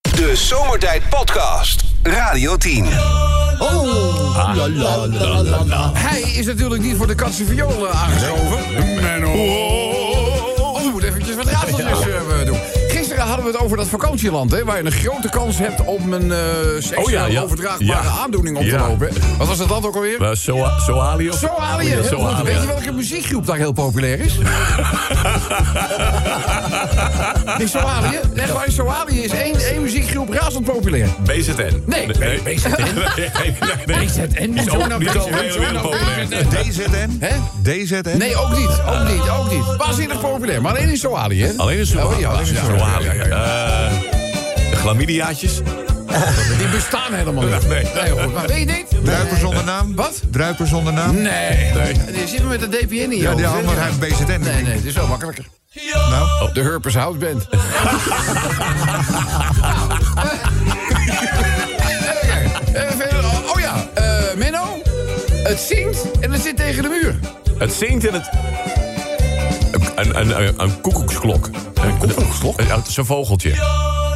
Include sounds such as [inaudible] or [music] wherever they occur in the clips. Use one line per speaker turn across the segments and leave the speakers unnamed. De Zomertijd Podcast. Radio 10.
Oh, la, la, la, la, la. Hij is natuurlijk niet voor de katse viool eh, aangeschoven. Oh, we moeten eventjes wat raadseltjes eh, doen. Gisteren hadden we het over dat vakantieland, hè, waar je een grote kans hebt om een eh seksueel
Oh, ja, ja.
overdraagbare
Ja.
aandoening op te
Ja.
lopen. Wat was dat land ook alweer?
Eh, Soa- Soalië? of- Oh,
Somalië, heel
Ja,
goed.
Somalië.
Weet je welke muziekgroep daar heel populair
[laughs]
is? in Somalië? Echt waar, in Somalië is één, één muziekgroep razend populair.
BZN.
Nee.
nee. BZN? [laughs] Nee, nee, nee.
En
Is ook niet al heel heel populair.
DZN?
Hè?
DZN?
Nee, ook niet. Ook niet, ook niet. Waanzinnig populair, maar alleen in Somalië. hè?
Alleen in Soalië.
Oh, ja, alleen in Somalië.
Soalië.
Ja, ja,
Eh, de chlamydiaatjes?
Die bestaan helemaal niet.
Nee.
joh, maar weet je dit?
Druiper zonder naam?
Wat?
Druiper zonder naam?
Nee. Je zit me met de DPN in je
Ja, die
hoofd,
andere
hè?
heeft BZN.
Nee, nee, het is wel makkelijker. Oh,
Nou,
De Hurpers House
[laughs]
Band. Eh, verder, oh, oh ja, eh, Menno. Het zingt en het zit tegen de muur.
Het zingt en het... Een, een, een, een koekoeksklok. Een koekoeksklok? Zo'n vogeltje.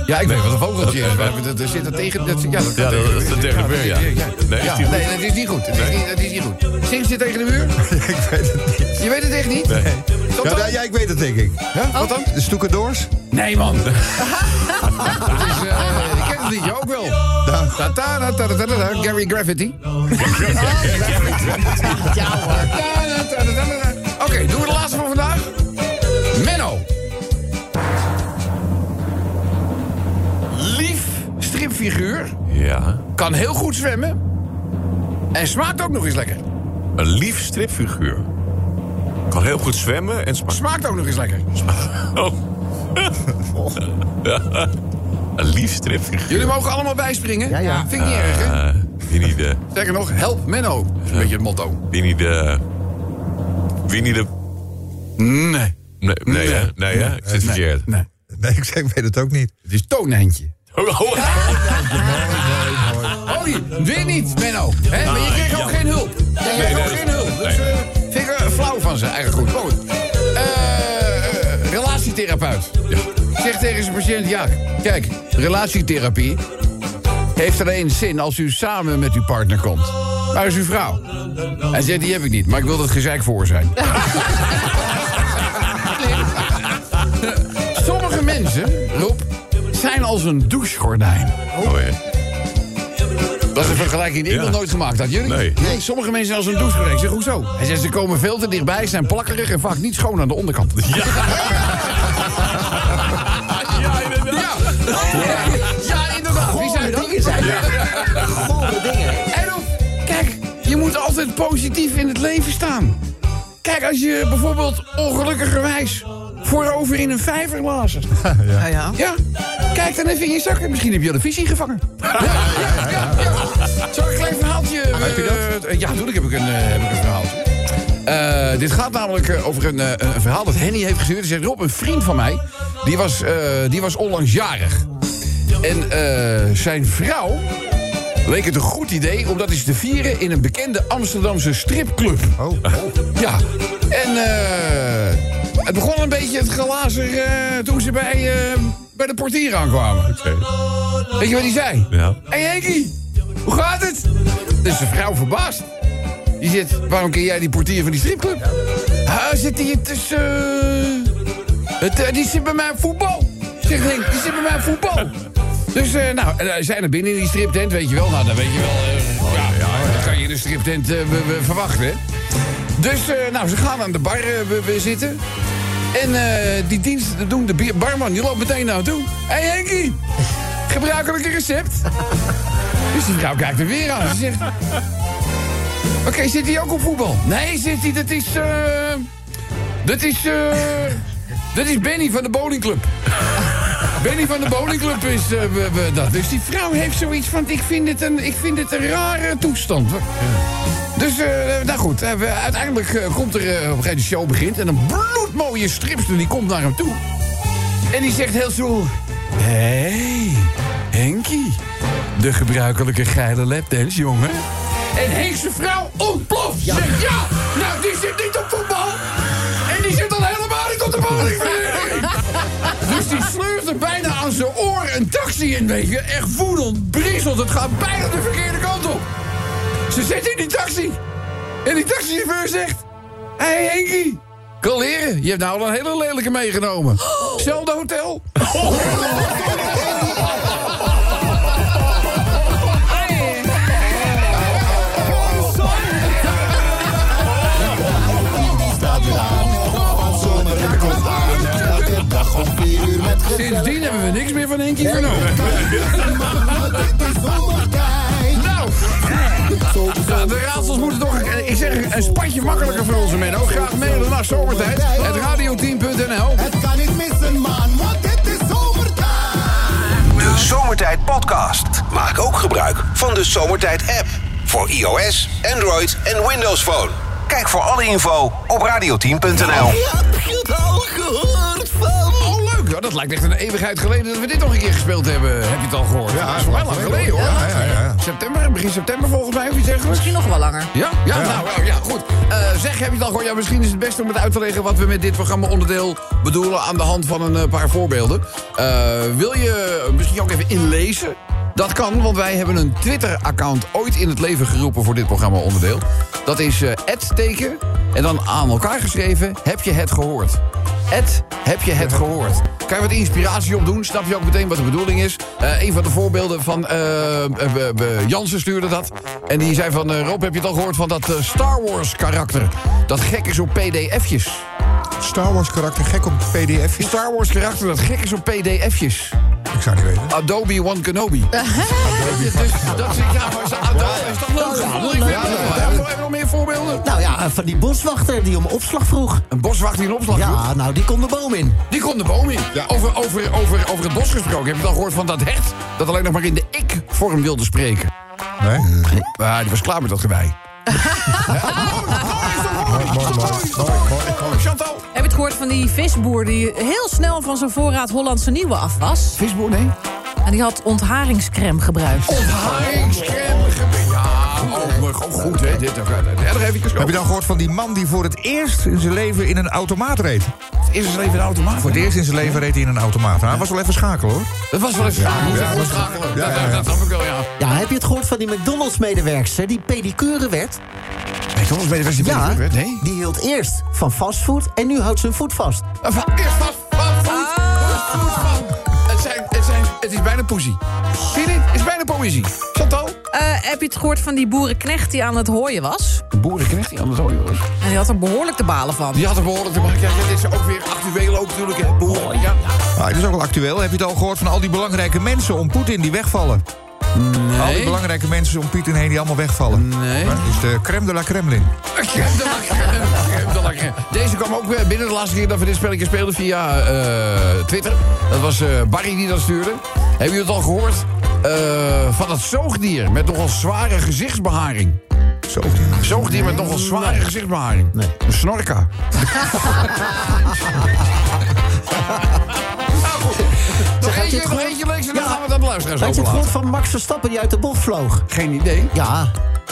Ja, ik weet wat een vogeltje is. maar dat- dat zit er tegen... Dat, ja, dat,
Ja, dat- dat zit tegen de muur, ja. Nee,
Nee,
is
ja,
die goed?
nee, dat is niet goed. Dat is niet, dat is niet goed. Zingt zit tegen de muur?
ik weet het niet.
Je weet het echt niet? Tot
Ja,
dan?
ja, ja, ik weet het denk ik.
Huh? Wat dan?
De Stoekendoors?
Nee, man. [laughs] Dat is, eh, ik ken het liedje ook wel. Ta -ta -ta -ta -ta -ta -ta. Gary Gravity.
Ja hoor.
Oké, doen we de laatste voor vandaag? Menno. Lief stripfiguur.
Ja.
Kan heel goed zwemmen. En smaakt ook nog eens lekker.
Een lief stripfiguur. Kan heel goed zwemmen en smaakt.
Smaakt ook nog eens lekker.
Oh. een lief stripfiguur.
Jullie mogen allemaal bijspringen.
Ja, ja.
Vind ik niet erg, hè?
Eh, Winnie de...
Sterker nog, help Menno. Dat is een beetje het motto.
Winnie de... Winnie de...
Nee.
Nee, nee, hè? nee, hè? ik zit verkeerd.
Nee.
Nee, ik, zeg, ik weet het ook niet.
Het is Toonheintje.
Oh, oh.
Oh, je- weer niet, Menno. Hè, maar je kreeg ook geen hulp. Je kreeg ook
Nou, nee.
geen hulp. Dus eh, vind ik er flauw van zijn. Eigenlijk goed. Goed. Eh, eh, relatietherapeut. Zegt tegen zijn patiënt, ja, kijk, relatietherapie heeft alleen zin als u samen met uw partner komt. Maar is uw vrouw. Hij zegt, die heb ik niet, maar ik wil dat gezeik voor
[laughs]
zijn. Sommige mensen, Rob, zijn als een douchegordijn.
Oh, ja.
Dat is een vergelijking die ik
Ja.
nog nooit gemaakt had. Jullie?
Nee.
Sommige mensen als een douchebreek. Ik Zeg, hoezo? Hij zegt, ze komen veel te dichtbij, zijn plakkerig en vaak niet schoon aan de onderkant. Ja. Ja, inderdaad. Ja, inderdaad. Wie zijn dat?
dingen zijn gore dingen.
En of, kijk, je moet altijd positief in het leven staan. Kijk, als je bijvoorbeeld ongelukkigerwijs voorover in een vijver lazert.
Ja, ja.
Ja, kijk dan even in je zakken. Misschien heb je al de visie gevangen. Ja, ja, ja, ja. Zal ik een klein verhaaltje... heb je dat? ja, natuurlijk heb ik een, eh, heb ik een verhaaltje. Eh, dit gaat namelijk eh, over een, eh, een verhaal dat Henny heeft gestuurd. Hij zegt, Rob, een vriend van mij, die was, eh, die was onlangs jarig. En eh, zijn vrouw leek het een goed idee om dat eens te vieren... in een bekende Amsterdamse stripclub.
Oh, oh.
Ja, en eh, het begon een beetje het glazer eh, toen ze bij, eh, bij de portier aankwamen.
Oké.
Weet je wat hij zei?
Ja.
Hé hey Henkie, hoe gaat het? Dus de vrouw verbaasd. Die zit, waarom ken jij die portier van die stripclub? Hij zit hier tussen... eh, het, eh, die zit bij mij op voetbal. Zegt Henk, die zit bij mij op voetbal. Dus, eh, nou, en, eh, zijn er binnen in die striptent, weet je wel. Nou, dan weet je wel... eh, ja, dat kan je in de striptent eh, we- we verwachten, hè. Dus, eh, nou, ze gaan aan de bar eh, we, we zitten. En eh, die dienst doen de bier- barman, die loopt meteen naar toe. Hé hey, Henkie, gebruikelijke recept. Dus die vrouw kijkt er weer aan. Ze zegt... Oké, zit hij ook op voetbal? Nee, zit hij, dat is... eh, dat is... eh, dat is Benny van de bowlingclub. [laughs] Benny van de bowlingclub is eh, we- we dat. Dus die vrouw heeft zoiets van... Ik vind het een, ik vind het een rare toestand. Dus, eh, nou goed, eh, we- uiteindelijk eh, komt er eh, op een gegeven moment de show begint... en een bloedmooie stripster die komt naar hem toe. En die zegt heel zo... Hé, hey, Henkie. De gebruikelijke geile lapdance, jongen. En Henk's vrouw ontploft. Ja. Zegt, ja, nou, die zit niet op voetbal. En die zit al helemaal niet op de bowlingvereniging. dus die sleurt er bijna aan zijn oren een taxi in, weet je. Echt woedend, brieselt. Het gaat bijna de verkeerde kant op. Ze zit in die taxi. En die taxichauffeur zegt... Hé, hey, Henkie. Kan leren. Je hebt nou al een hele lelijke meegenomen. Zelfde hotel. Sindsdien hebben we niks meer van Henkie vernomen. Nou, nou, de raadsels moeten toch, eh, ik zeg, een spatje makkelijker voor onze men. Ook graag mailen naar zomertijd. Het radioteam.nl.
Het kan niet missen, man, want het is zomertijd.
De Zomertijd Podcast. Maak ook gebruik van de Zomertijd app. Voor iOS, Android en Windows Phone. Kijk voor alle info op radioteam.nl.
Heb je het al gehoord van?
Oh, leuk. Ja, dat lijkt echt een eeuwigheid geleden dat we dit nog een keer gespeeld hebben. Heb je het al gehoord? Ja, dat is voor mij lang geleden, hoor.
Ja, ja, ja.
September, begin september volgens mij, of iets dergelijks.
Misschien nog wel langer.
Ja? Ja, nou, nou, ja, goed. Eh, zeg, heb je het al gehoord? Ja, misschien is het best om het uit te leggen wat we met dit programma onderdeel bedoelen aan de hand van een eh, paar voorbeelden. Eh, wil je misschien ook even inlezen? Dat kan, want wij hebben een Twitter-account ooit in het leven geroepen voor dit programma onderdeel. Dat is het teken en dan aan elkaar geschreven, heb je het gehoord? Ed, heb je het gehoord? Kan je wat inspiratie opdoen? Snap je ook meteen wat de bedoeling is? Eh, een van de voorbeelden van eh, eh, eh, eh, Jansen stuurde dat. En die zei van, eh, Rob, heb je het al gehoord van dat eh, Star Wars karakter? Dat gek is op pdf'jes.
Star Wars karakter gek op
Die
pdf'jes?
Star Wars karakter dat gek is op pdf'jes.
Ik zou niet weten.
Adobe One Kenobi. dus dat is, ja, maar is- Adobe is toch leuk?
Ja,
Ik weet het wel. Hebben we nog meer voorbeelden?
Nou ja, van die boswachter die om opslag vroeg.
Een boswachter die een opslag doet.
Ja, nou, die kon de boom in.
Die komt de boom in. Over, over, over, over het bos gesproken. Heb je het al gehoord van dat hert? Dat alleen nog maar in de ik-vorm wilde spreken.
Nee?
Maar die was klaar met dat gewei.
Mooi, mooi, mooi, mooi, mooi.
Chantal.
Heb je het gehoord van die visboer die heel snel van zijn voorraad Hollandse Nieuwe af was?
Visboer, nee?
En die had ontharingscreme gebruikt.
Ontharingscreme. Ja, oh, maar gewoon goed, hè. Dit, erg eventjes.
Heb je dan gehoord van die man die voor het eerst in zijn leven in een automaat reed?
Is dus eens even een automaat?
Voor het eerst in zijn leven reed hij in een automaat. Nou, hij was wel even schakelen hoor.
Dat was wel eens schakelen.
ja,
Ja,
dat-
schakelen.
ja,
Dat-
ja, ja.
Dat snap ik wel, ja.
Ja, heb je het gehoord van die McDonald's-medewerkster die pedicure werd?
Nee, Thomas, ben je best niet
Ja,
Nee.
die hield eerst van fastfood en nu houdt ze een voet vast.
Eerst vast, vast, vast, vast. Het zijn, het zijn, het is bijna poesie. Zie je dit? Het is bijna poëzie. Chantal?
Eh, heb je het gehoord van die boerenknecht die aan het hooien was?
De boerenknecht die aan het rooien was.
En die had er behoorlijk de balen van.
Die had er behoorlijk te maken. Ja, dit is ook weer actueel ook natuurlijk, hè,
Oh,
boeren. Ja.
Maar Ah, het is ook wel actueel. Heb je het al gehoord van al die belangrijke mensen om Poetin die wegvallen? Al die belangrijke mensen om Poetin heen die allemaal wegvallen.
Nee.
Maar het is de crème de la Kremlin.
[laughs] Crème de la crème, crème de la crème. Deze kwam ook weer binnen de laatste keer dat we dit spelletje speelden via eh, Twitter. Dat was eh, Barry die dat stuurde. Hebben jullie het al gehoord? Eh, van dat zoogdier met nogal zware gezichtsbeharing.
Zo. die-
Zoogdier met nogal zware gezichtsbeharing. Een
[laughs]
snorka. Nou, goed. Nog
je
eentje,
het
nog
goed?
eentje leeks en dan
Ja.
gaan we dat luisteraars
Had je het
overlaten.
gehoord van Max Verstappen die uit de bocht vloog?
Geen idee.
Ja,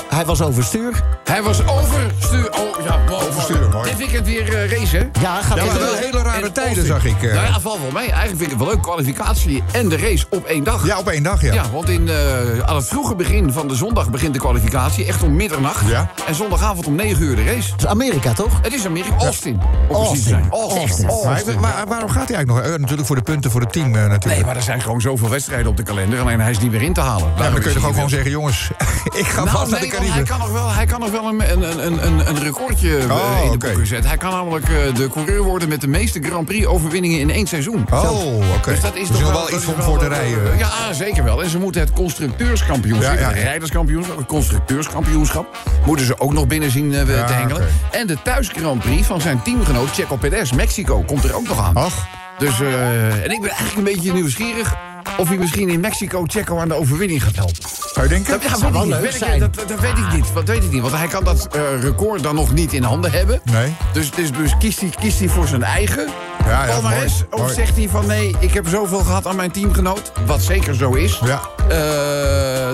hij was overstuur.
Hij was overstuur. Oh, ja, wow,
Overstuur, mooi.
Dit weekend weer eh racen.
Ja, gaat
Ja, maar
het
wel
wel.
hele rare
En
tijden
Austin.
zag ik. eh.
Nou ja, val wel mee. Eigenlijk vind ik het wel leuk. Kwalificatie en de race op één dag.
Ja, op één dag ja.
Ja, want in, eh, aan het vroege begin van de zondag begint de kwalificatie. Echt om middernacht.
Ja.
En zondagavond om 9 uur de race.
Het is Amerika, toch?
Het is Amerika. Austin. om precies te
Austin.
zijn.
Texas.
Austin.
Maar, hij-
Austin.
maar waarom gaat hij eigenlijk nog? Eh, natuurlijk voor de punten voor het team eh, natuurlijk.
Nee, maar er zijn gewoon zoveel wedstrijden op de kalender. Alleen hij is niet meer in te halen.
Ja, maar dan kun je toch ook gewoon
zeggen.
zeggen, jongens, [laughs] ik ga
Nou,
vast naar
nee,
de
want hij
Cariben.
kan nog wel, hij kan nog wel een, een, een, een, een recordje eh, in
Oh,
de
oké.
boeken zetten. Hij kan namelijk eh, de coureur worden met de meeste Grand Prix-overwinningen in één seizoen.
Oh, oké.
Dus dat is,
nog wel,
dat
iets
is
om voor te rijden.
Ja, zeker wel. En ze moeten het constructeurskampioenschap,
Ja, ja.
het rijderskampioenschap, het constructeurskampioenschap, moeten ze ook nog binnen zien eh,
Ja,
te hengelen.
oké.
En de thuis Grand Prix van zijn teamgenoot Checo Perez, Mexico, komt er ook nog aan.
Ach,
Dus, eh, en ik ben eigenlijk een beetje nieuwsgierig of hij misschien in Mexico Checo aan de overwinning gaat helpen.
zou je denken?
Dat, ja, weet ik
wel
niet.
leuk
Weet ik-
zijn.
dat, dat weet ik niet. Dat weet ik niet. Want hij kan dat eh, record dan nog niet in handen hebben.
Nee.
Dus, dus, dus kiest, hij, kiest hij voor zijn eigen
Ja, ja,
palmarès?
mooi,
of
mooi.
zegt hij van nee, ik heb zoveel gehad aan mijn teamgenoot. Wat zeker zo is.
Ja.
eh,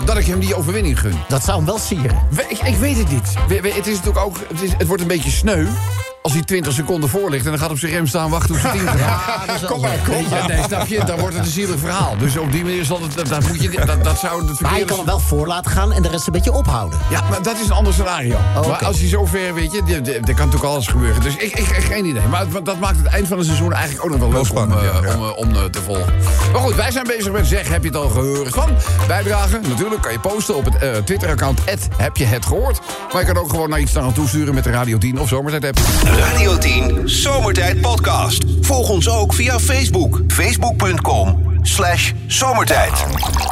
dat ik hem die overwinning gun.
Dat zou hem wel sieren.
We- Ik, ik weet het niet. We- we- het, is natuurlijk ook, het, is, het wordt een beetje sneu. als hij 20 seconden voor ligt en dan gaat op zijn rem staan wachten op zijn tien.
Ja, dat is wel zo.
Weet je, nee, snap je? Dan wordt het een zielig verhaal. Dus op die manier zal het. Dat, dat, moet je, dat, dat zou het
Maar je
verkeerde-
kan hem wel voor laten gaan en de rest een beetje ophouden.
Ja, maar dat is een ander scenario.
Oh,
oké.
Maar als hij zo ver, weet je, de- de- er kan natuurlijk alles gebeuren. Dus ik, ik, ik- geen idee. Maar het- dat maakt het eind van het seizoen eigenlijk ook nog wel leuk
spannend,
om, eh,
ja, ja.
om, eh, om, eh, te volgen. Maar goed, wij zijn bezig met Zeg, heb je het al gehoord van? Bijdragen, natuurlijk kan je posten op het eh, Twitter-account heb je het gehoord. Maar je kan ook gewoon naar iets naar aan toesturen met de Radio 10 of Zomertijd-app.
Radio 10 Zomertijd Podcast. Volg ons ook via Facebook. Facebook.com slash zomertijd.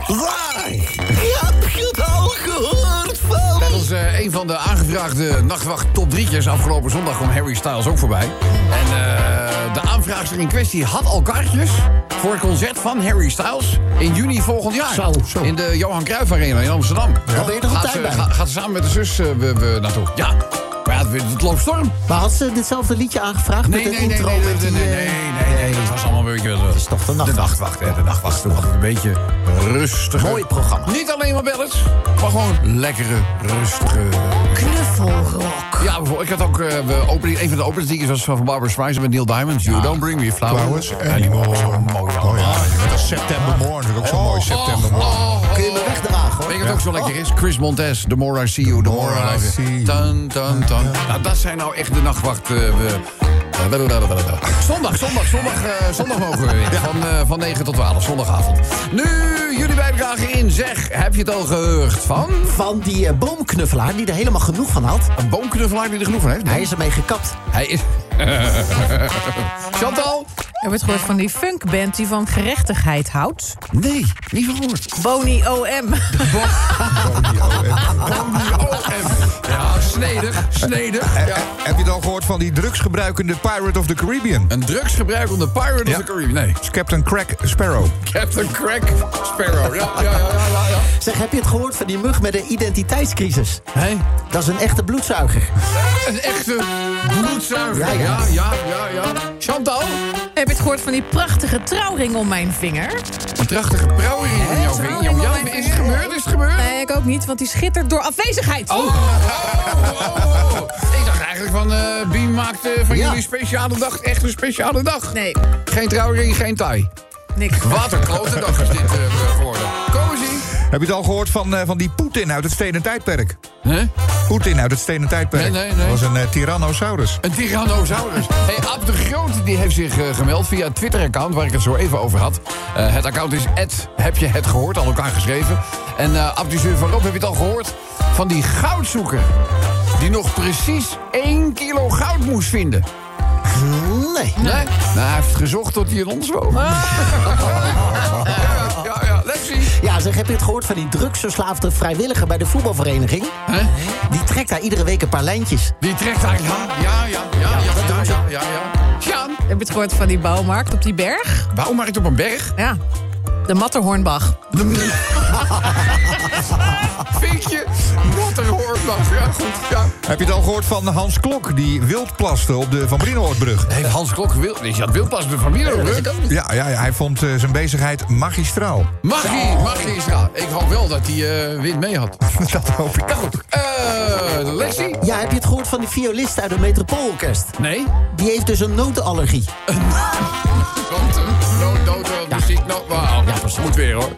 Waar heb je het al gehoord van?
Dat is eh, een van de aangevraagde nachtwacht top drietjes. Afgelopen zondag kwam Harry Styles ook voorbij. En eh, de aanvraagster in kwestie had al kaartjes voor het concert van Harry Styles in juni volgend jaar.
Zo, zo.
In de Johan Cruijff Arena in Amsterdam.
Dan ben je er op
Gaat
tijd
ze-
bij.
ga- Gaat ze samen met de zus eh, we, we naartoe. Ja. Maar ja, het, het loopt storm.
Maar had ze ditzelfde liedje aangevraagd
Nee,
met
nee,
een
nee, nee,
intro?
nee,
met
nee, nee,
die,
nee,
eh,
nee, nee, dat was allemaal een beetje...
Het is toch de
De
nachtwacht.
nachtwacht, hè, de nachtwacht. Toen was het een beetje rustiger.
Mooi programma.
Niet alleen maar ballads, maar gewoon lekkere, rustige...
Knuffelrock.
Ja, bijvoorbeeld, ik had ook eh, we opening, een van de openingsliedjes was van Barbara Streisand met Neil Diamond. You don't bring me flowers. Ah,
Flowers.
Ja, die Oh. mogen zo mooi
Oh ja, dat is septembermorgen. Dat is ook zo'n mooi septembermorgen.
[laughs]
Kun je me wegdragen, hoor.
oh, Weet je wat ook zo lekker is? Chris Montez, The More I See You, The More I Love You. Tan, tan, tan. Nou, dat zijn nou echt de nachtwacht... eh, we- Zondag, zondag, zondag, eh, zondag mogen we weer. Van, eh, van 9 tot 12, zondagavond. Nu jullie bijdragen in. Zeg, heb je het al gehoord van...
Van die eh, boomknuffelaar die er helemaal genoeg van had.
Een boomknuffelaar die er genoeg van heeft?
Hij is ermee gekapt.
Hij is... [laughs] Chantal?
Er wordt gehoord van die funkband die van gerechtigheid houdt.
Nee, niet verhoord.
Boni OM.
Ja, snedig, snedig. Ja.
Heb je het al gehoord van die drugsgebruikende Pirate of the Caribbean?
Een drugsgebruikende Pirate
Ja.
of the Caribbean. Nee,
Dat is Captain Crack Sparrow.
Captain Crack Sparrow. Ja, ja, ja, ja. ja, ja.
Zeg, heb je het gehoord van die mug met een identiteitscrisis?
Hé?
Dat is een echte bloedzuiger.
Een echte bloedzuiger.
Ja,
Ja,
ja.
ja, ja, ja. Chantal?
[laughs] Heb je het gehoord van die prachtige trouwring om mijn vinger?
Een prachtige brouwering in jouw
trouwring
vinger. Ja,
om mijn
is het
vinger.
gebeurd? Is het gebeurd?
Nee, ik ook niet, want die schittert door afwezigheid.
Oh, oh, oh, oh. Ik dacht eigenlijk van, eh Beam maakt eh, van
Ja.
jullie speciale dag echt een speciale dag.
Nee,
Geen trouwring, geen taai.
niks.
Wat een klote dag is dit eh, geworden. Cozy.
Heb je het al gehoord van, eh, van die Poetin uit het stenen tijdperk?
Hè?
Poetin uit het stenen tijdperk.
Nee, nee, nee.
Dat was een eh, Tyrannosaurus.
Een Tyrannosaurus. Hey, Ab de Groot die heeft zich eh, gemeld via het Twitter-account... waar ik het zo even over had. Eh, het account is heb je het gehoord, al elkaar geschreven. En eh Ab die stuurt van Rob, heb je het al gehoord? Van die goudzoeker. Die nog precies één kilo goud moest vinden.
Nee.
Nee? Nou, hij heeft gezocht tot hij in ons woont. [laughs] ja, ja, ja. Lexie.
Ja, zeg, heb je het gehoord van die drugsverslaafde vrijwilliger bij de voetbalvereniging?
Hè?
Die trekt daar iedere week een paar lijntjes.
Die trekt haar. Ja, ja, ja, ja, ja, ja, ja, ja, ja. Sjaan.
Heb je het gehoord van die bouwmarkt op die berg?
Bouwmarkt op een berg.
Ja, de Matterhornbach.
[laughs] Vinkje. Wat een hoortbach. Ja, goed. Ja.
Heb je het al gehoord van Hans Klok, die wildplaste op de Van Brienoordbrug?
Heeft Hans Klok wil, is dat wildpas de familie ook, hè?
Ja, ja, ja, hij vond eh, zijn bezigheid magistraal. [laughs]
Mag hij, mag hij, ja. Ik hoop wel dat hij eh, wind mee had.
Dat hoop ik.
Ja, goed. Eh, Lexie?
Ja, heb je het gehoord van die violist uit het Metropoolorkest?
Nee.
Die heeft dus een notenallergie.
Dood, dood, dood, dood, muziek. Nou, wauw. Ja, dat moet weer, hoor.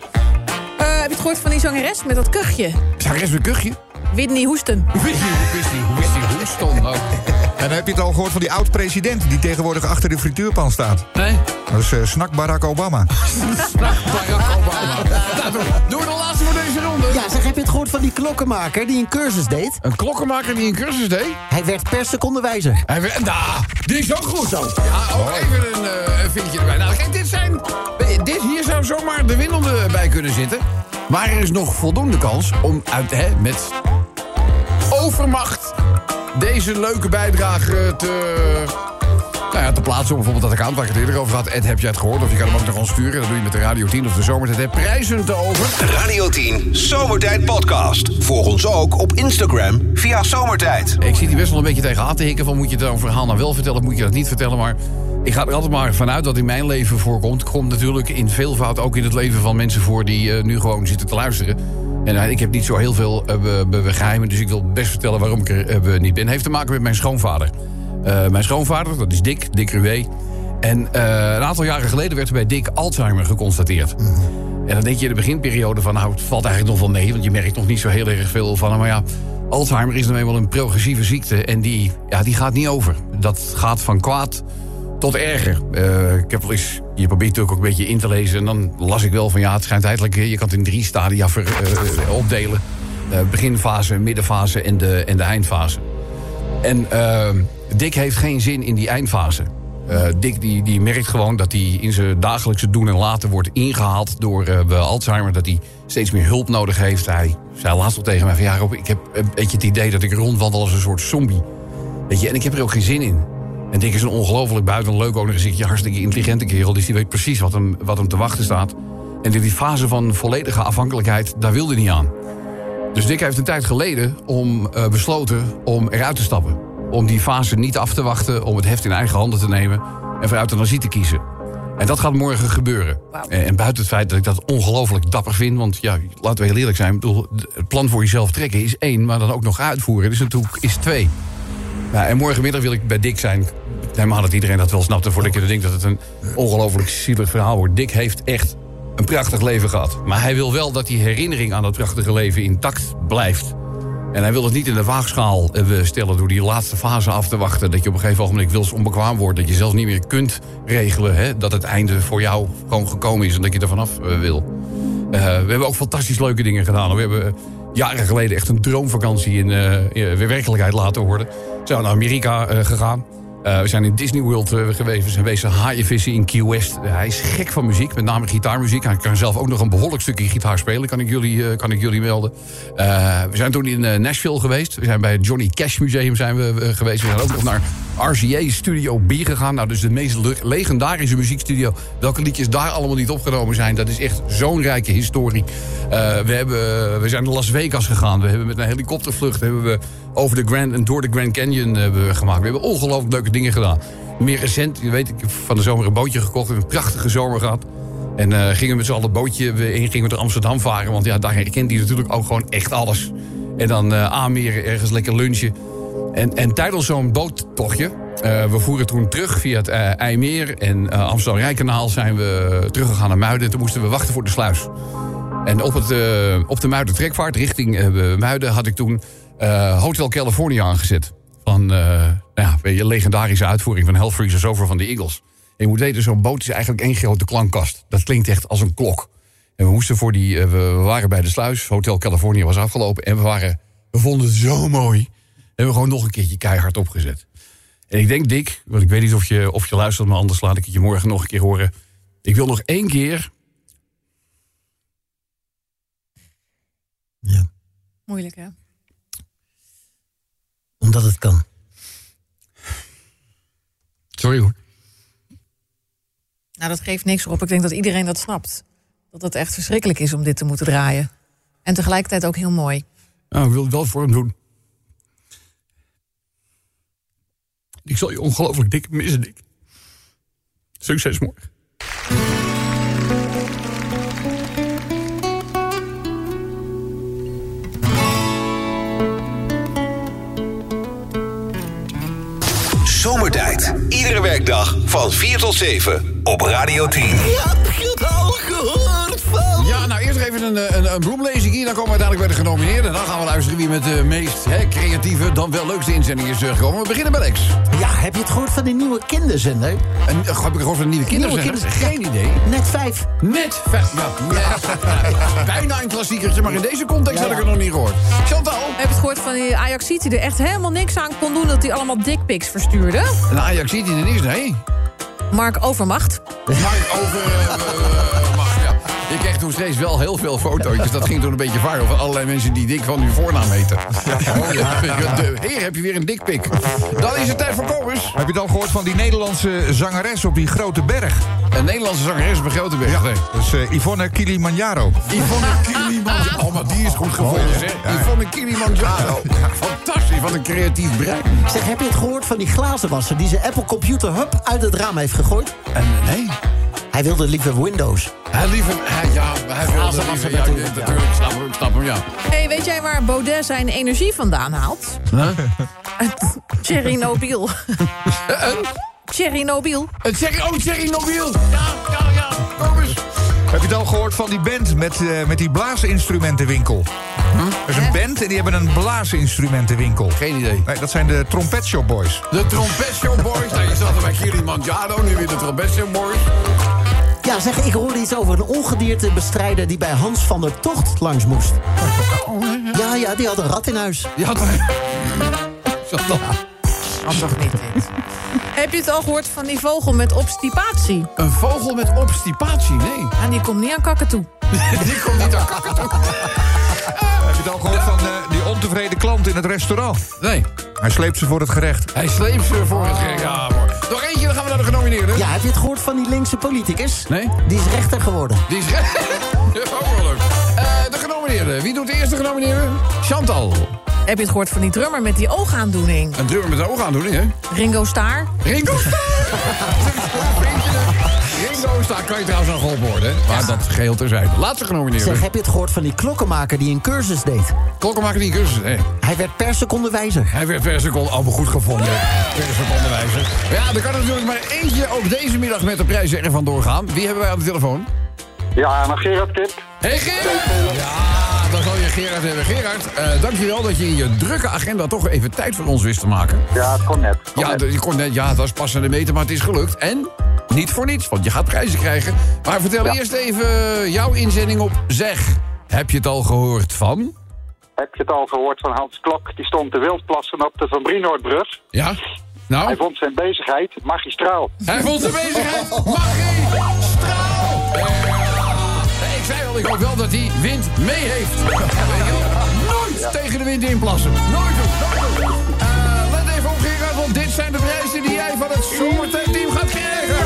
Eh, heb je het gehoord van die zangeres met dat kuchje?
Zag eens een kuchje.
Whitney Houston.
Wist hij, wist hij, wist hij, hoe stond nou? ook.
En heb je het al gehoord van die oud-president, die tegenwoordig achter de frituurpan staat?
[laughs] Nee.
Dat is eh, snak Barack Obama.
Barack Obama. Nou, doe, doe de laatste voor deze ronde.
Ja, zeg, heb je het gehoord van die klokkenmaker die een cursus deed?
Een klokkenmaker die een cursus deed.
Hij werd per seconde wijzer.
Hij werd, nou, die is ook goed. Zo. Ja, ook even een eh, een vinkje erbij. Nou, kijk, dit zijn... Dit hier zou zomaar de winnende bij kunnen zitten. Maar er is nog voldoende kans om uit, hè, met overmacht deze leuke bijdrage eh, te... Nou ja, te plaatsen op bijvoorbeeld dat account waar ik het eerder over had. Ed, heb jij het gehoord? Of je kan hem ook naar ons sturen. Dat doe je met de Radio 10 of de Zomertijd. Hè, Prijzen te over.
Radio 10 Zomertijd Podcast. Volg ons ook op Instagram via Zomertijd.
Ik zit hier best wel een beetje tegenaan te hikken. Van moet je het een verhaal nou wel vertellen, moet je dat niet vertellen. Maar ik ga er altijd maar vanuit dat in mijn leven voorkomt. Komt natuurlijk in veelvoud ook in het leven van mensen voor die eh, nu gewoon zitten te luisteren. En eh, ik heb niet zo heel veel eh, be- be- geheimen, dus ik wil best vertellen waarom ik er eh, be- niet ben. Heeft te maken met mijn schoonvader. eh, mijn schoonvader, dat is Dick, Dick Ruwe. En eh, een aantal jaren geleden werd er bij Dick Alzheimer geconstateerd. En dan denk je in de beginperiode van, nou, het valt eigenlijk nog wel mee... want je merkt nog niet zo heel erg veel van hem. Maar ja, Alzheimer is nou eenmaal een progressieve ziekte... en die, ja, die gaat niet over. Dat gaat van kwaad tot erger. Eh, ik heb wel eens, je probeert natuurlijk ook een beetje in te lezen... en dan las ik wel van, ja, het schijnt eigenlijk... eh, je kan het in drie stadia ver, eh, opdelen. Eh, beginfase, middenfase en de, en de eindfase. En eh, Dick heeft geen zin in die eindfase. Eh, Dick die, die merkt gewoon dat hij in zijn dagelijkse doen en laten wordt ingehaald door eh, Alzheimer. Dat hij steeds meer hulp nodig heeft. Hij zei laatst al tegen mij van ja Rob, ik heb een beetje het idee dat ik rondwandel als een soort zombie. Weet je, en ik heb er ook geen zin in. En Dick is een ongelooflijk buitenleuk onig gezichtje, hartstikke intelligente kerel. Dus die weet precies wat hem, wat hem te wachten staat. En in die fase van volledige afhankelijkheid, daar wilde hij niet aan. Dus Dick heeft een tijd geleden om, eh, besloten om eruit te stappen. Om die fase niet af te wachten, om het heft in eigen handen te nemen... en voor euthanasie te kiezen. En dat gaat morgen gebeuren. En, en buiten het feit dat ik dat ongelooflijk dapper vind... want ja, laten we heel eerlijk zijn... ik bedoel, het plan voor jezelf trekken is één, maar dan ook nog uitvoeren... is natuurlijk is twee. Ja, en morgenmiddag wil ik bij Dick zijn. Helemaal dat iedereen dat wel snapte voordat ik er denk dat het een ongelooflijk zielig verhaal wordt. Dick heeft echt een prachtig leven gehad. Maar hij wil wel dat die herinnering aan dat prachtige leven intact blijft. En hij wil het niet in de waagschaal eh, we stellen door die laatste fase af te wachten. Dat je op een gegeven ogenblik wils onbekwaam wordt. Dat je zelfs niet meer kunt regelen. Hè? Dat het einde voor jou gewoon gekomen is en dat je er vanaf eh, wil. Eh, we hebben ook fantastisch leuke dingen gedaan. We hebben eh, jaren geleden echt een droomvakantie in eh, eh, werkelijkheid laten worden. We zijn naar Amerika eh, gegaan. Eh, we zijn in Disney World eh, geweest. We zijn wezen haaienvissen in Key West. Eh, hij is gek van muziek, met name gitaarmuziek. Hij kan zelf ook nog een behoorlijk stukje gitaar spelen, kan ik jullie, eh, kan ik jullie melden. Eh, we zijn toen in eh, Nashville geweest. We zijn bij het Johnny Cash Museum zijn we, eh, geweest. We zijn ook nog naar RCA Studio B gegaan. Nou, dus de meest le- legendarische muziekstudio. Welke liedjes daar allemaal niet opgenomen zijn, dat is echt zo'n rijke historie. Eh, we, hebben, we zijn naar Las Vegas gegaan. We hebben met een helikoptervlucht hebben we over de Grand en door de Grand Canyon hebben we gemaakt. We hebben ongelooflijk leuke dingen gedaan. Meer recent, je weet, ik heb van de zomer een bootje gekocht. We hebben een prachtige zomer gehad. En eh, gingen met z'n allen een bootje in, gingen we naar Amsterdam varen. Want ja, daar herkent hij natuurlijk ook gewoon echt alles. En dan eh, aanmeren, ergens lekker lunchen. En, en tijdens zo'n boottochtje, eh, we voeren toen terug via het eh, IJmeer en eh, Amsterdam-Rijnkanaal zijn we teruggegaan naar Muiden. En toen moesten we wachten voor de sluis. En op, het, eh, op de Muiden trekvaart richting eh, Muiden had ik toen eh, Hotel California aangezet. Van eh, nou ja, weet je, legendarische uitvoering van Hellfreeze Over van de Eagles. En je moet weten, zo'n boot is eigenlijk één grote klankkast. Dat klinkt echt als een klok. En we moesten voor die. eh, we we waren bij de sluis. Hotel California was afgelopen. En we waren. We vonden het zo mooi. Hebben we gewoon nog een keertje keihard opgezet. En ik denk, Dick, want ik weet niet of je, of je luistert, maar anders laat ik het je morgen nog een keer horen. Ik wil nog één keer
Moeilijk, hè?
Omdat het kan.
Sorry hoor.
Nou, dat geeft niks op. Ik denk dat iedereen dat snapt. Dat het echt verschrikkelijk is om dit te moeten draaien. En tegelijkertijd ook heel mooi.
Nou, ik wil het wel voor hem doen. Ik zal je ongelooflijk dik missen, Dick. Succes morgen.
Zomertijd. Iedere werkdag van 4 tot 7 op Radio 10.
Heb je het al gehoord van?
Ja, nou eerst nog even een, eh, een, een bloemlezing hier. Dan komen we uiteindelijk bij de genomineerden. En dan gaan we luisteren wie met de meest hè, creatieve, dan wel leukste inzending is teruggekomen. We beginnen bij Lex.
Ja, heb je het gehoord van die nieuwe kinderzender?
En, eh, heb ik gehoord van nieuwe kinderen?
Nieuwe
zeggen?
kinderen-
Geen idee.
Net 5.
Net vet. Ja,
[laughs]
net. Bijna een klassiekertje, maar in deze context had ik het nog niet gehoord. Chantal.
Heb je het gehoord van die ajax die er echt helemaal niks aan kon doen... dat hij allemaal dickpics verstuurde?
Een Ajax ziet hij er niet, nee.
Mark Overmacht.
Maar over... eh, eh, maar, ja. Je kreeg toen steeds wel heel veel fotootjes. Dat ging toen een beetje vaak over allerlei mensen die dik van hun voornaam heten. Oh, [laughs] De- Heer, heb je weer een dikpik. Dan is het tijd voor Kobus.
Heb je het al gehoord van die Nederlandse zangeres op die grote berg?
Een Nederlandse zangeres op een grote weg. Nee.
Dat is eh, Yvonne Kilimanjaro.
Yvonne Oh, Kilimanjaro. Oh, maar die is goed gevonden, zeg. Yvonne Kilimanjaro. Fantastisch, wat een creatief brein.
Zeg, heb je het gehoord van die glazenwasser die zijn Apple computer hup uit het raam heeft gegooid?
En nee,
Hij wilde liever Windows.
hij liever... Hij, ja, hij wilde
Glazen wassen
liever... Ja,
natuurlijk, ja.
natuurlijk, ik snap hem, ik snap hem, ja.
Hé, hey, weet jij waar Baudet zijn energie vandaan haalt? Eh, [laughs] Chernobyl.
Een?
Chernobyl.
Een Tsjechi- eh, oh, Tsjernobyl. Ja, ja, ja. Kom eens.
Heb je het al gehoord van die band met, eh, met die blaasinstrumentenwinkel? Er is een band en die hebben een blaasinstrumentenwinkel.
Geen idee.
Nee, dat zijn de Trompet Shop Boys.
De Trompet Show Boys. Nou, je zat er bij Kilimanjaro, nu weer de Trompet Show Boys.
Ja, zeg, ik hoorde iets over een ongediertebestrijder... die bij Hans van der Tocht langs moest. Ja, ja, die had een rat in huis.
Je had er... Zat nog
Handig niet dit. Heb je het al gehoord van die vogel met obstipatie?
Een vogel met obstipatie, nee.
En die komt niet aan kakken toe.
[laughs] Die komt niet aan kakken toe.
Heb je het al gehoord van eh, die ontevreden klant in het restaurant?
Nee,
Hij sleept ze voor het gerecht. [laughs]
hij sleept ze voor het gek. Ja, mooi. Nog eentje, dan gaan we naar de genomineerden.
Ja, heb je het gehoord van die linkse politicus?
Nee.
Die is rechter geworden.
Die is... [laughs] Die is ook wel leuk. Eh, de genomineerden. Wie doet de eerste genomineerde? Chantal.
Heb je het gehoord van die drummer met die oogaandoening?
Een drummer met een oogaandoening, hè?
Ringo Starr?
Ringo [laughs] Starr! Ringo Starr kan je trouwens aan geholpen worden, hè? Maar dat geheel terzijde. Laatste
Zeg,
genomineerde.
heb je het gehoord van die klokkenmaker die een cursus deed?
Klokkenmaker die cursus. Nee.
Hij werd per seconde wijzer.
Hij werd per seconde allemaal goed gevonden. Per seconde wijzer. Ja, er kan er natuurlijk maar eentje ook deze middag met de prijs er van doorgaan. Wie hebben wij aan de telefoon?
Ja, maar Gerard Kip.
Hé hey Gerard! Ja, dan zal je Gerard hebben. Gerard, eh, dankjewel dat je in je drukke agenda toch even tijd voor ons wist te maken.
Oh, Ja, het kon net. Kon
Ja,
net.
de- je kon net, ja, het was passende meter, maar het is gelukt. En niet voor niets, want je gaat prijzen krijgen. Maar vertel eerst even jouw inzending op Zeg. Heb je het al gehoord van?
Heb je het al gehoord van Hans Klok? Die stond te wildplassen op de Van Brienoordbrug.
Ja? Nou?
Hij vond zijn bezigheid magistraal.
Hij vond zijn bezigheid. Magie! Straal! Eh, Ik zei al, ik hoop wel dat hij wind mee heeft. Weet je wel? Nooit tegen de wind inplassen. Nooit doen, nooit doen. Eh, let even op, Gerard, want dit zijn de prijzen die jij van het Zomertijd-team gaat krijgen.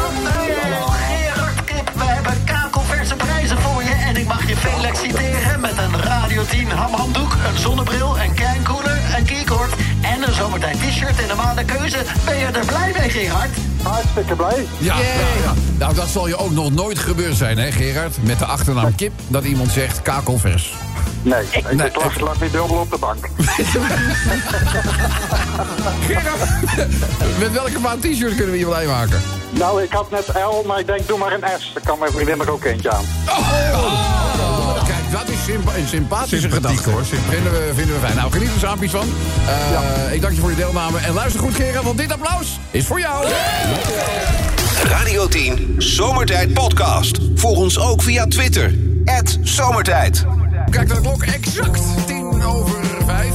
Gerard Kip, we hebben kakelverse prijzen voor je. En ik mag je veel exciteren met een Radio 10 hamhanddoek, een zonnebril, een kernkoeler, een keycord en een zomertijd t-shirt in de maanden keuze. Ben je er blij mee, Gerard?
Hartstikke blij.
Ja, ja, ja. Nou, dat zal je ook nog nooit gebeurd zijn, hè, Gerard? Met de achternaam Kip, dat iemand zegt kakelvers. [laughs]
Nee, ik
Nee,
nee, lag, lag niet dubbel op de bank.
Gerard, met welke maat t-shirt kunnen we je blij maken?
Nou, ik had net L, maar ik denk doe maar een S. Dan kan mijn vriendin er ook eentje aan.
Oh, Kijk, dat is sympa- een sympathische gedachte. Hoor. Vinden, we, vinden we fijn. Nou, geniet er saampjes van. Eh, Ik dank je voor je deelname. En luister goed, Gerard, want dit applaus is voor jou.
Radio 10 Zomertijd Podcast. Volg ons ook via Twitter. Zomertijd.
Kijk naar de klok, exact 10 over 5.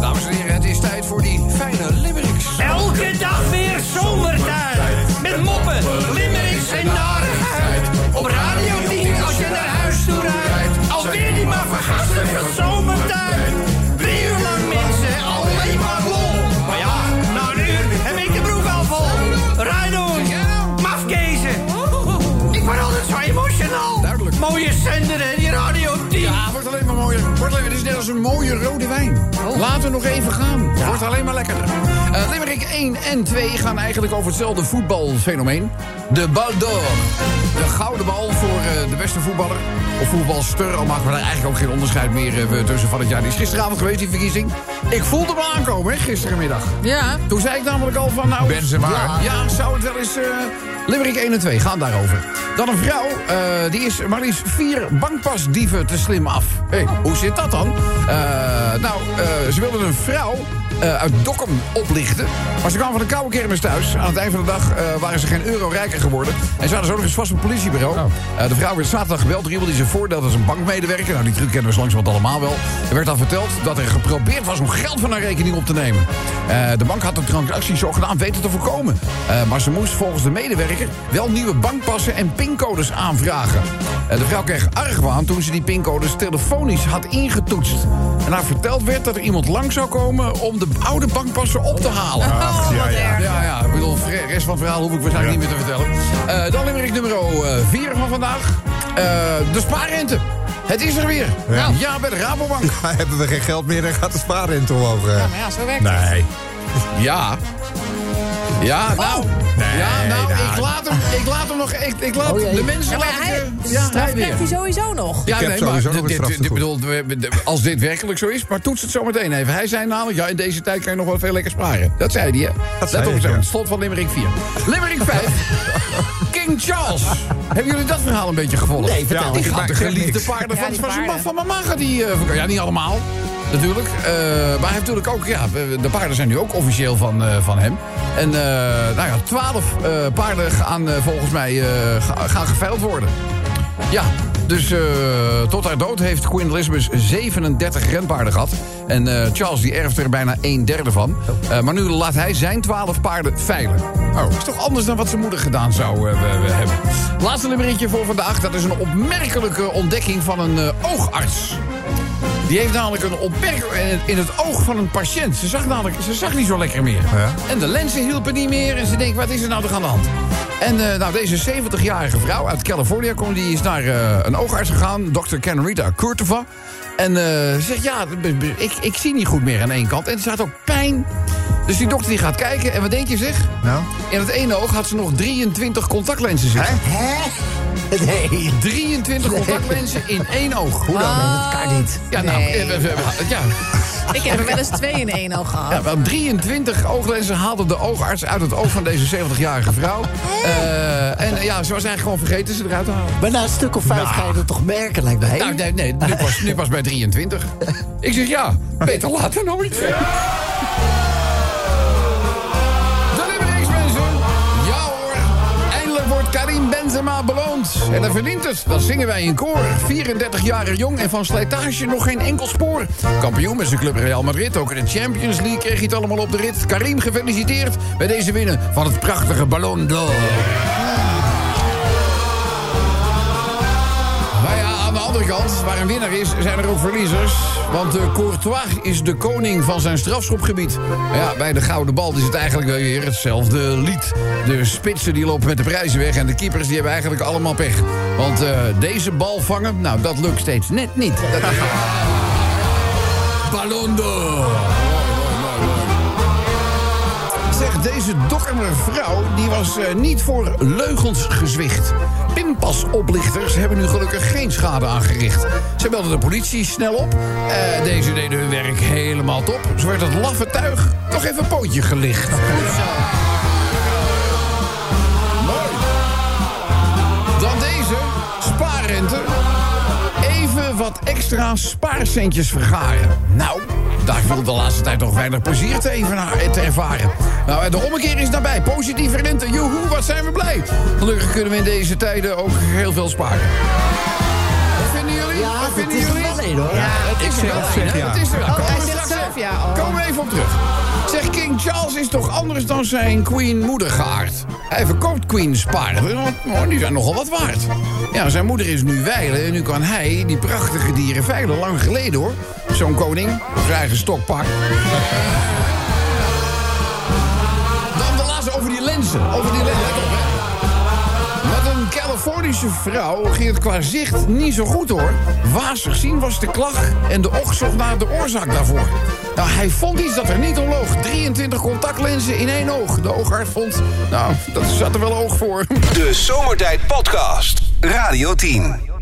Dames en heren, het is tijd voor die fijne limericks.
Elke dag weer zomertijd. Met moppen, limmerings en narigheid. Op Radio 10 als je naar huis toe rijdt. Alweer die maar vergastige zomertijd. Drie uur lang mensen, alleen maar lol. Maar ja, na een uur heb ik de broek al vol. Rijdoen, mafkezen. Ik word altijd zo emotional.
Duidelijk.
Mooie zender hè, die Radio 10.
Ja, wordt alleen maar mooier. Wordt alleen, het is net als een mooie rode wijn. Laat er nog even gaan. Wordt alleen maar lekkerder. Eh Limerick 1 en 2 gaan eigenlijk over hetzelfde voetbalfenomeen. De Bal d'Or. De gouden bal voor eh, de beste voetballer. Of voetbalster, al maken we daar eigenlijk ook geen onderscheid meer eh, tussen van het jaar. Die is gisteravond geweest, die verkiezing. Ik voelde hem aankomen, hè, gisterenmiddag.
Ja.
Toen zei ik namelijk al van, nou...
Benzema.
Ja, ja zou het wel eens... eh Limerick 1 en 2, gaan daarover. Dan een vrouw, eh, die is maar liefst vier bankpasdieven te slim af. Hé, hoe zit dat dan? Eh, nou, eh, ze wilden een vrouw eh, uit Dokkum oplichten. Maar ze kwamen van de koude kermis thuis. Aan het eind van de dag eh, waren ze geen euro rijker geworden. En ze hadden zo nog eens vast een politiebureau. Eh, de vrouw werd zaterdag gebeld. Riebel die zijn voordeel als een bankmedewerker. Nou, die truc kennen we langzamerhand allemaal wel. Er werd dan verteld dat er geprobeerd was om geld van haar rekening op te nemen. Eh, de bank had de transactie zogenaamd weten te voorkomen. Eh, maar ze moest volgens de medewerker wel nieuwe bankpassen en pincodes aanvragen. Eh, de vrouw kreeg argwaan toen ze die pincodes telefonisch had ingetoetst. En haar verteld werd dat er iemand lang zou komen om de oude bankpassen op te halen.
Oh, wat erg.
Ja, ja, ik bedoel, de rest van het verhaal hoef ik waarschijnlijk niet meer te vertellen. Eh, dan limerick nummer 4 van vandaag. Eh, de spaarrente. Het is er weer. Ja, bij de Rabobank.
Maar hebben we geen
Nou.
geld meer, dan gaat de spaarrente omhoog. eh.
Maar ja, zo werkt het.
Nee.
Ja. Ja, nou.
Nee,
ja, nou,
nou.
ik laat hem, ik laat hem nog, ik, ik laat de mensen
Oh, Ja,
laat
maar
ik,
hij,
eh,
straf
hij weer.
krijgt hij sowieso nog.
Ja,
heb
nee, maar
sowieso nog
dit,
een
dit,
straf
dit-
te
bedoel, we- we- de- als dit werkelijk zo is, maar toets het zo meteen even. Hij zei namelijk, ja, in deze tijd kan je nog wel veel lekker sparen. Dat zei hij, hè? Dat
zei
Let op,
ik,
zo,
ja.
het slot van Limerick 4. Limerick
[laughs]
5, King Charles. Hebben jullie dat verhaal een beetje gevolgd?
Nee, vertel.
Die
Ik
gaat
maak
de
geen
geliefde
niks.
paarden
Ja,
van,
die
van, zijn ma-
paarden.
van mama gaat die... eh, verkopen. ja, niet allemaal, natuurlijk. Eh, maar hij heeft natuurlijk ook... Ja, de paarden zijn nu ook officieel van, eh, van hem. En eh nou ja, twaalf paarden gaan eh, volgens mij eh, ga- gaan geveild worden. Ja, dus eh, tot haar dood heeft Queen Elizabeth 37 renpaarden gehad. En eh, Charles die erft er bijna een derde van. Eh, maar nu laat hij zijn 12 paarden veilen. Oh, is toch anders dan wat zijn moeder gedaan zou eh, we- we hebben. Laatste nummertje voor vandaag. Dat is een opmerkelijke ontdekking van een eh, oogarts. Die heeft namelijk een opmerking in- in het oog van een patiënt. Ze zag, namelijk, ze zag niet zo lekker meer.
Ja.
En de lenzen hielpen niet meer. En ze denkt, wat is er nou toch aan de hand? En eh, nou, deze 70-jarige vrouw uit Californië kom, die is naar eh, een oogarts gegaan. Dr. Canarita Curtova. En eh, ze zegt, ja, b- b- ik, ik zie niet goed meer aan één kant. En er staat ook pijn. Dus die dokter die gaat kijken. En wat denk je, zeg?
Nou?
In het ene oog had ze nog 23 contactlenzen zitten.
Hè? Nee.
23 contactlenzen in één oog. Hoe
dan?
Dat kan niet.
Ja, nou,
Nee.
eh, we- we- we- ja.
Ik heb er wel eens twee in één al gehad.
Ja, wel 23 ooglenzen haalde de oogarts uit het oog van deze 70-jarige vrouw. Eh, en eh, ja, ze was eigenlijk gewoon vergeten ze eruit te halen.
Maar na een stuk of vijf ga je dat toch merken, lijkt mij.
Nou, nee, nee nu, pas, nu pas bij 23. Ik zeg ja, beter laat nou dan nooit. Dan hebben we niks, mensen. Ja hoor, eindelijk wordt Karim Benzema beloond. En hij verdient het, dat zingen wij in koor. 34 jaar jong en van slijtage nog geen enkel spoor. Kampioen met zijn club Real Madrid, ook in de Champions League kreeg hij het allemaal op de rit. Karim, gefeliciteerd bij deze winnen van het prachtige Ballon d'Or. Maar Nou ja, aan de andere kant, waar een winnaar is, zijn er ook verliezers. Want eh, Courtois is de koning van zijn strafschopgebied. Maar ja, bij de gouden bal is het eigenlijk wel weer hetzelfde lied. De spitsen die lopen met de prijzen weg en de keepers die hebben eigenlijk allemaal pech. Want eh, deze bal vangen, nou dat lukt steeds net niet. Dat is... Ballon d'Or. Zeg, deze dokkere vrouw die was eh, niet voor leugens gezwicht. Pimpasoplichters hebben nu gelukkig geen schade aangericht. Ze belden de politie snel op. Eh, deze deden hun werk helemaal top. Zo werd het laffe tuig toch even een pootje gelicht. Goed zo. Mooi. Dan deze, spaarrente. Even wat extra spaarcentjes vergaren. Nou, daar viel de laatste tijd toch weinig plezier te, evena- te ervaren. Nou, en de ommekeer is nabij. Positieve rente, joehoe, wat zijn we blij. Gelukkig kunnen we in deze tijden ook heel veel sparen. Wat vinden jullie?
Ja,
wat
dat
vinden
is er
jullie?
wel één, hoor.
Ja, het is er wel
zelf
één,
zeg
hè?
ja.
Het is er wel. Komen
hij
we
zegt
straks
zelf
even-
ja, oh.
Komen we even op terug. Zeg, King Charles is toch anders dan zijn queen moeder geaard? Hij verkoopt queens paarden, want oh, die zijn nogal wat waard. Ja, zijn moeder is nu weilen en nu kan hij die prachtige dieren veilen. Lang geleden hoor, zo'n koning, zijn eigen stokpaard. Dan de laatste over die lenzen. Over die lenzen, let op hè. Met een Californische vrouw ging het qua zicht niet zo goed hoor. Wazig zien was de klacht en de oog zocht naar de oorzaak daarvoor. Nou, hij vond iets dat er niet om loog. 23 contactlenzen in één oog. De oogarts vond, nou, dat zat er wel oog voor.
De Zomertijd Podcast. Radio 10.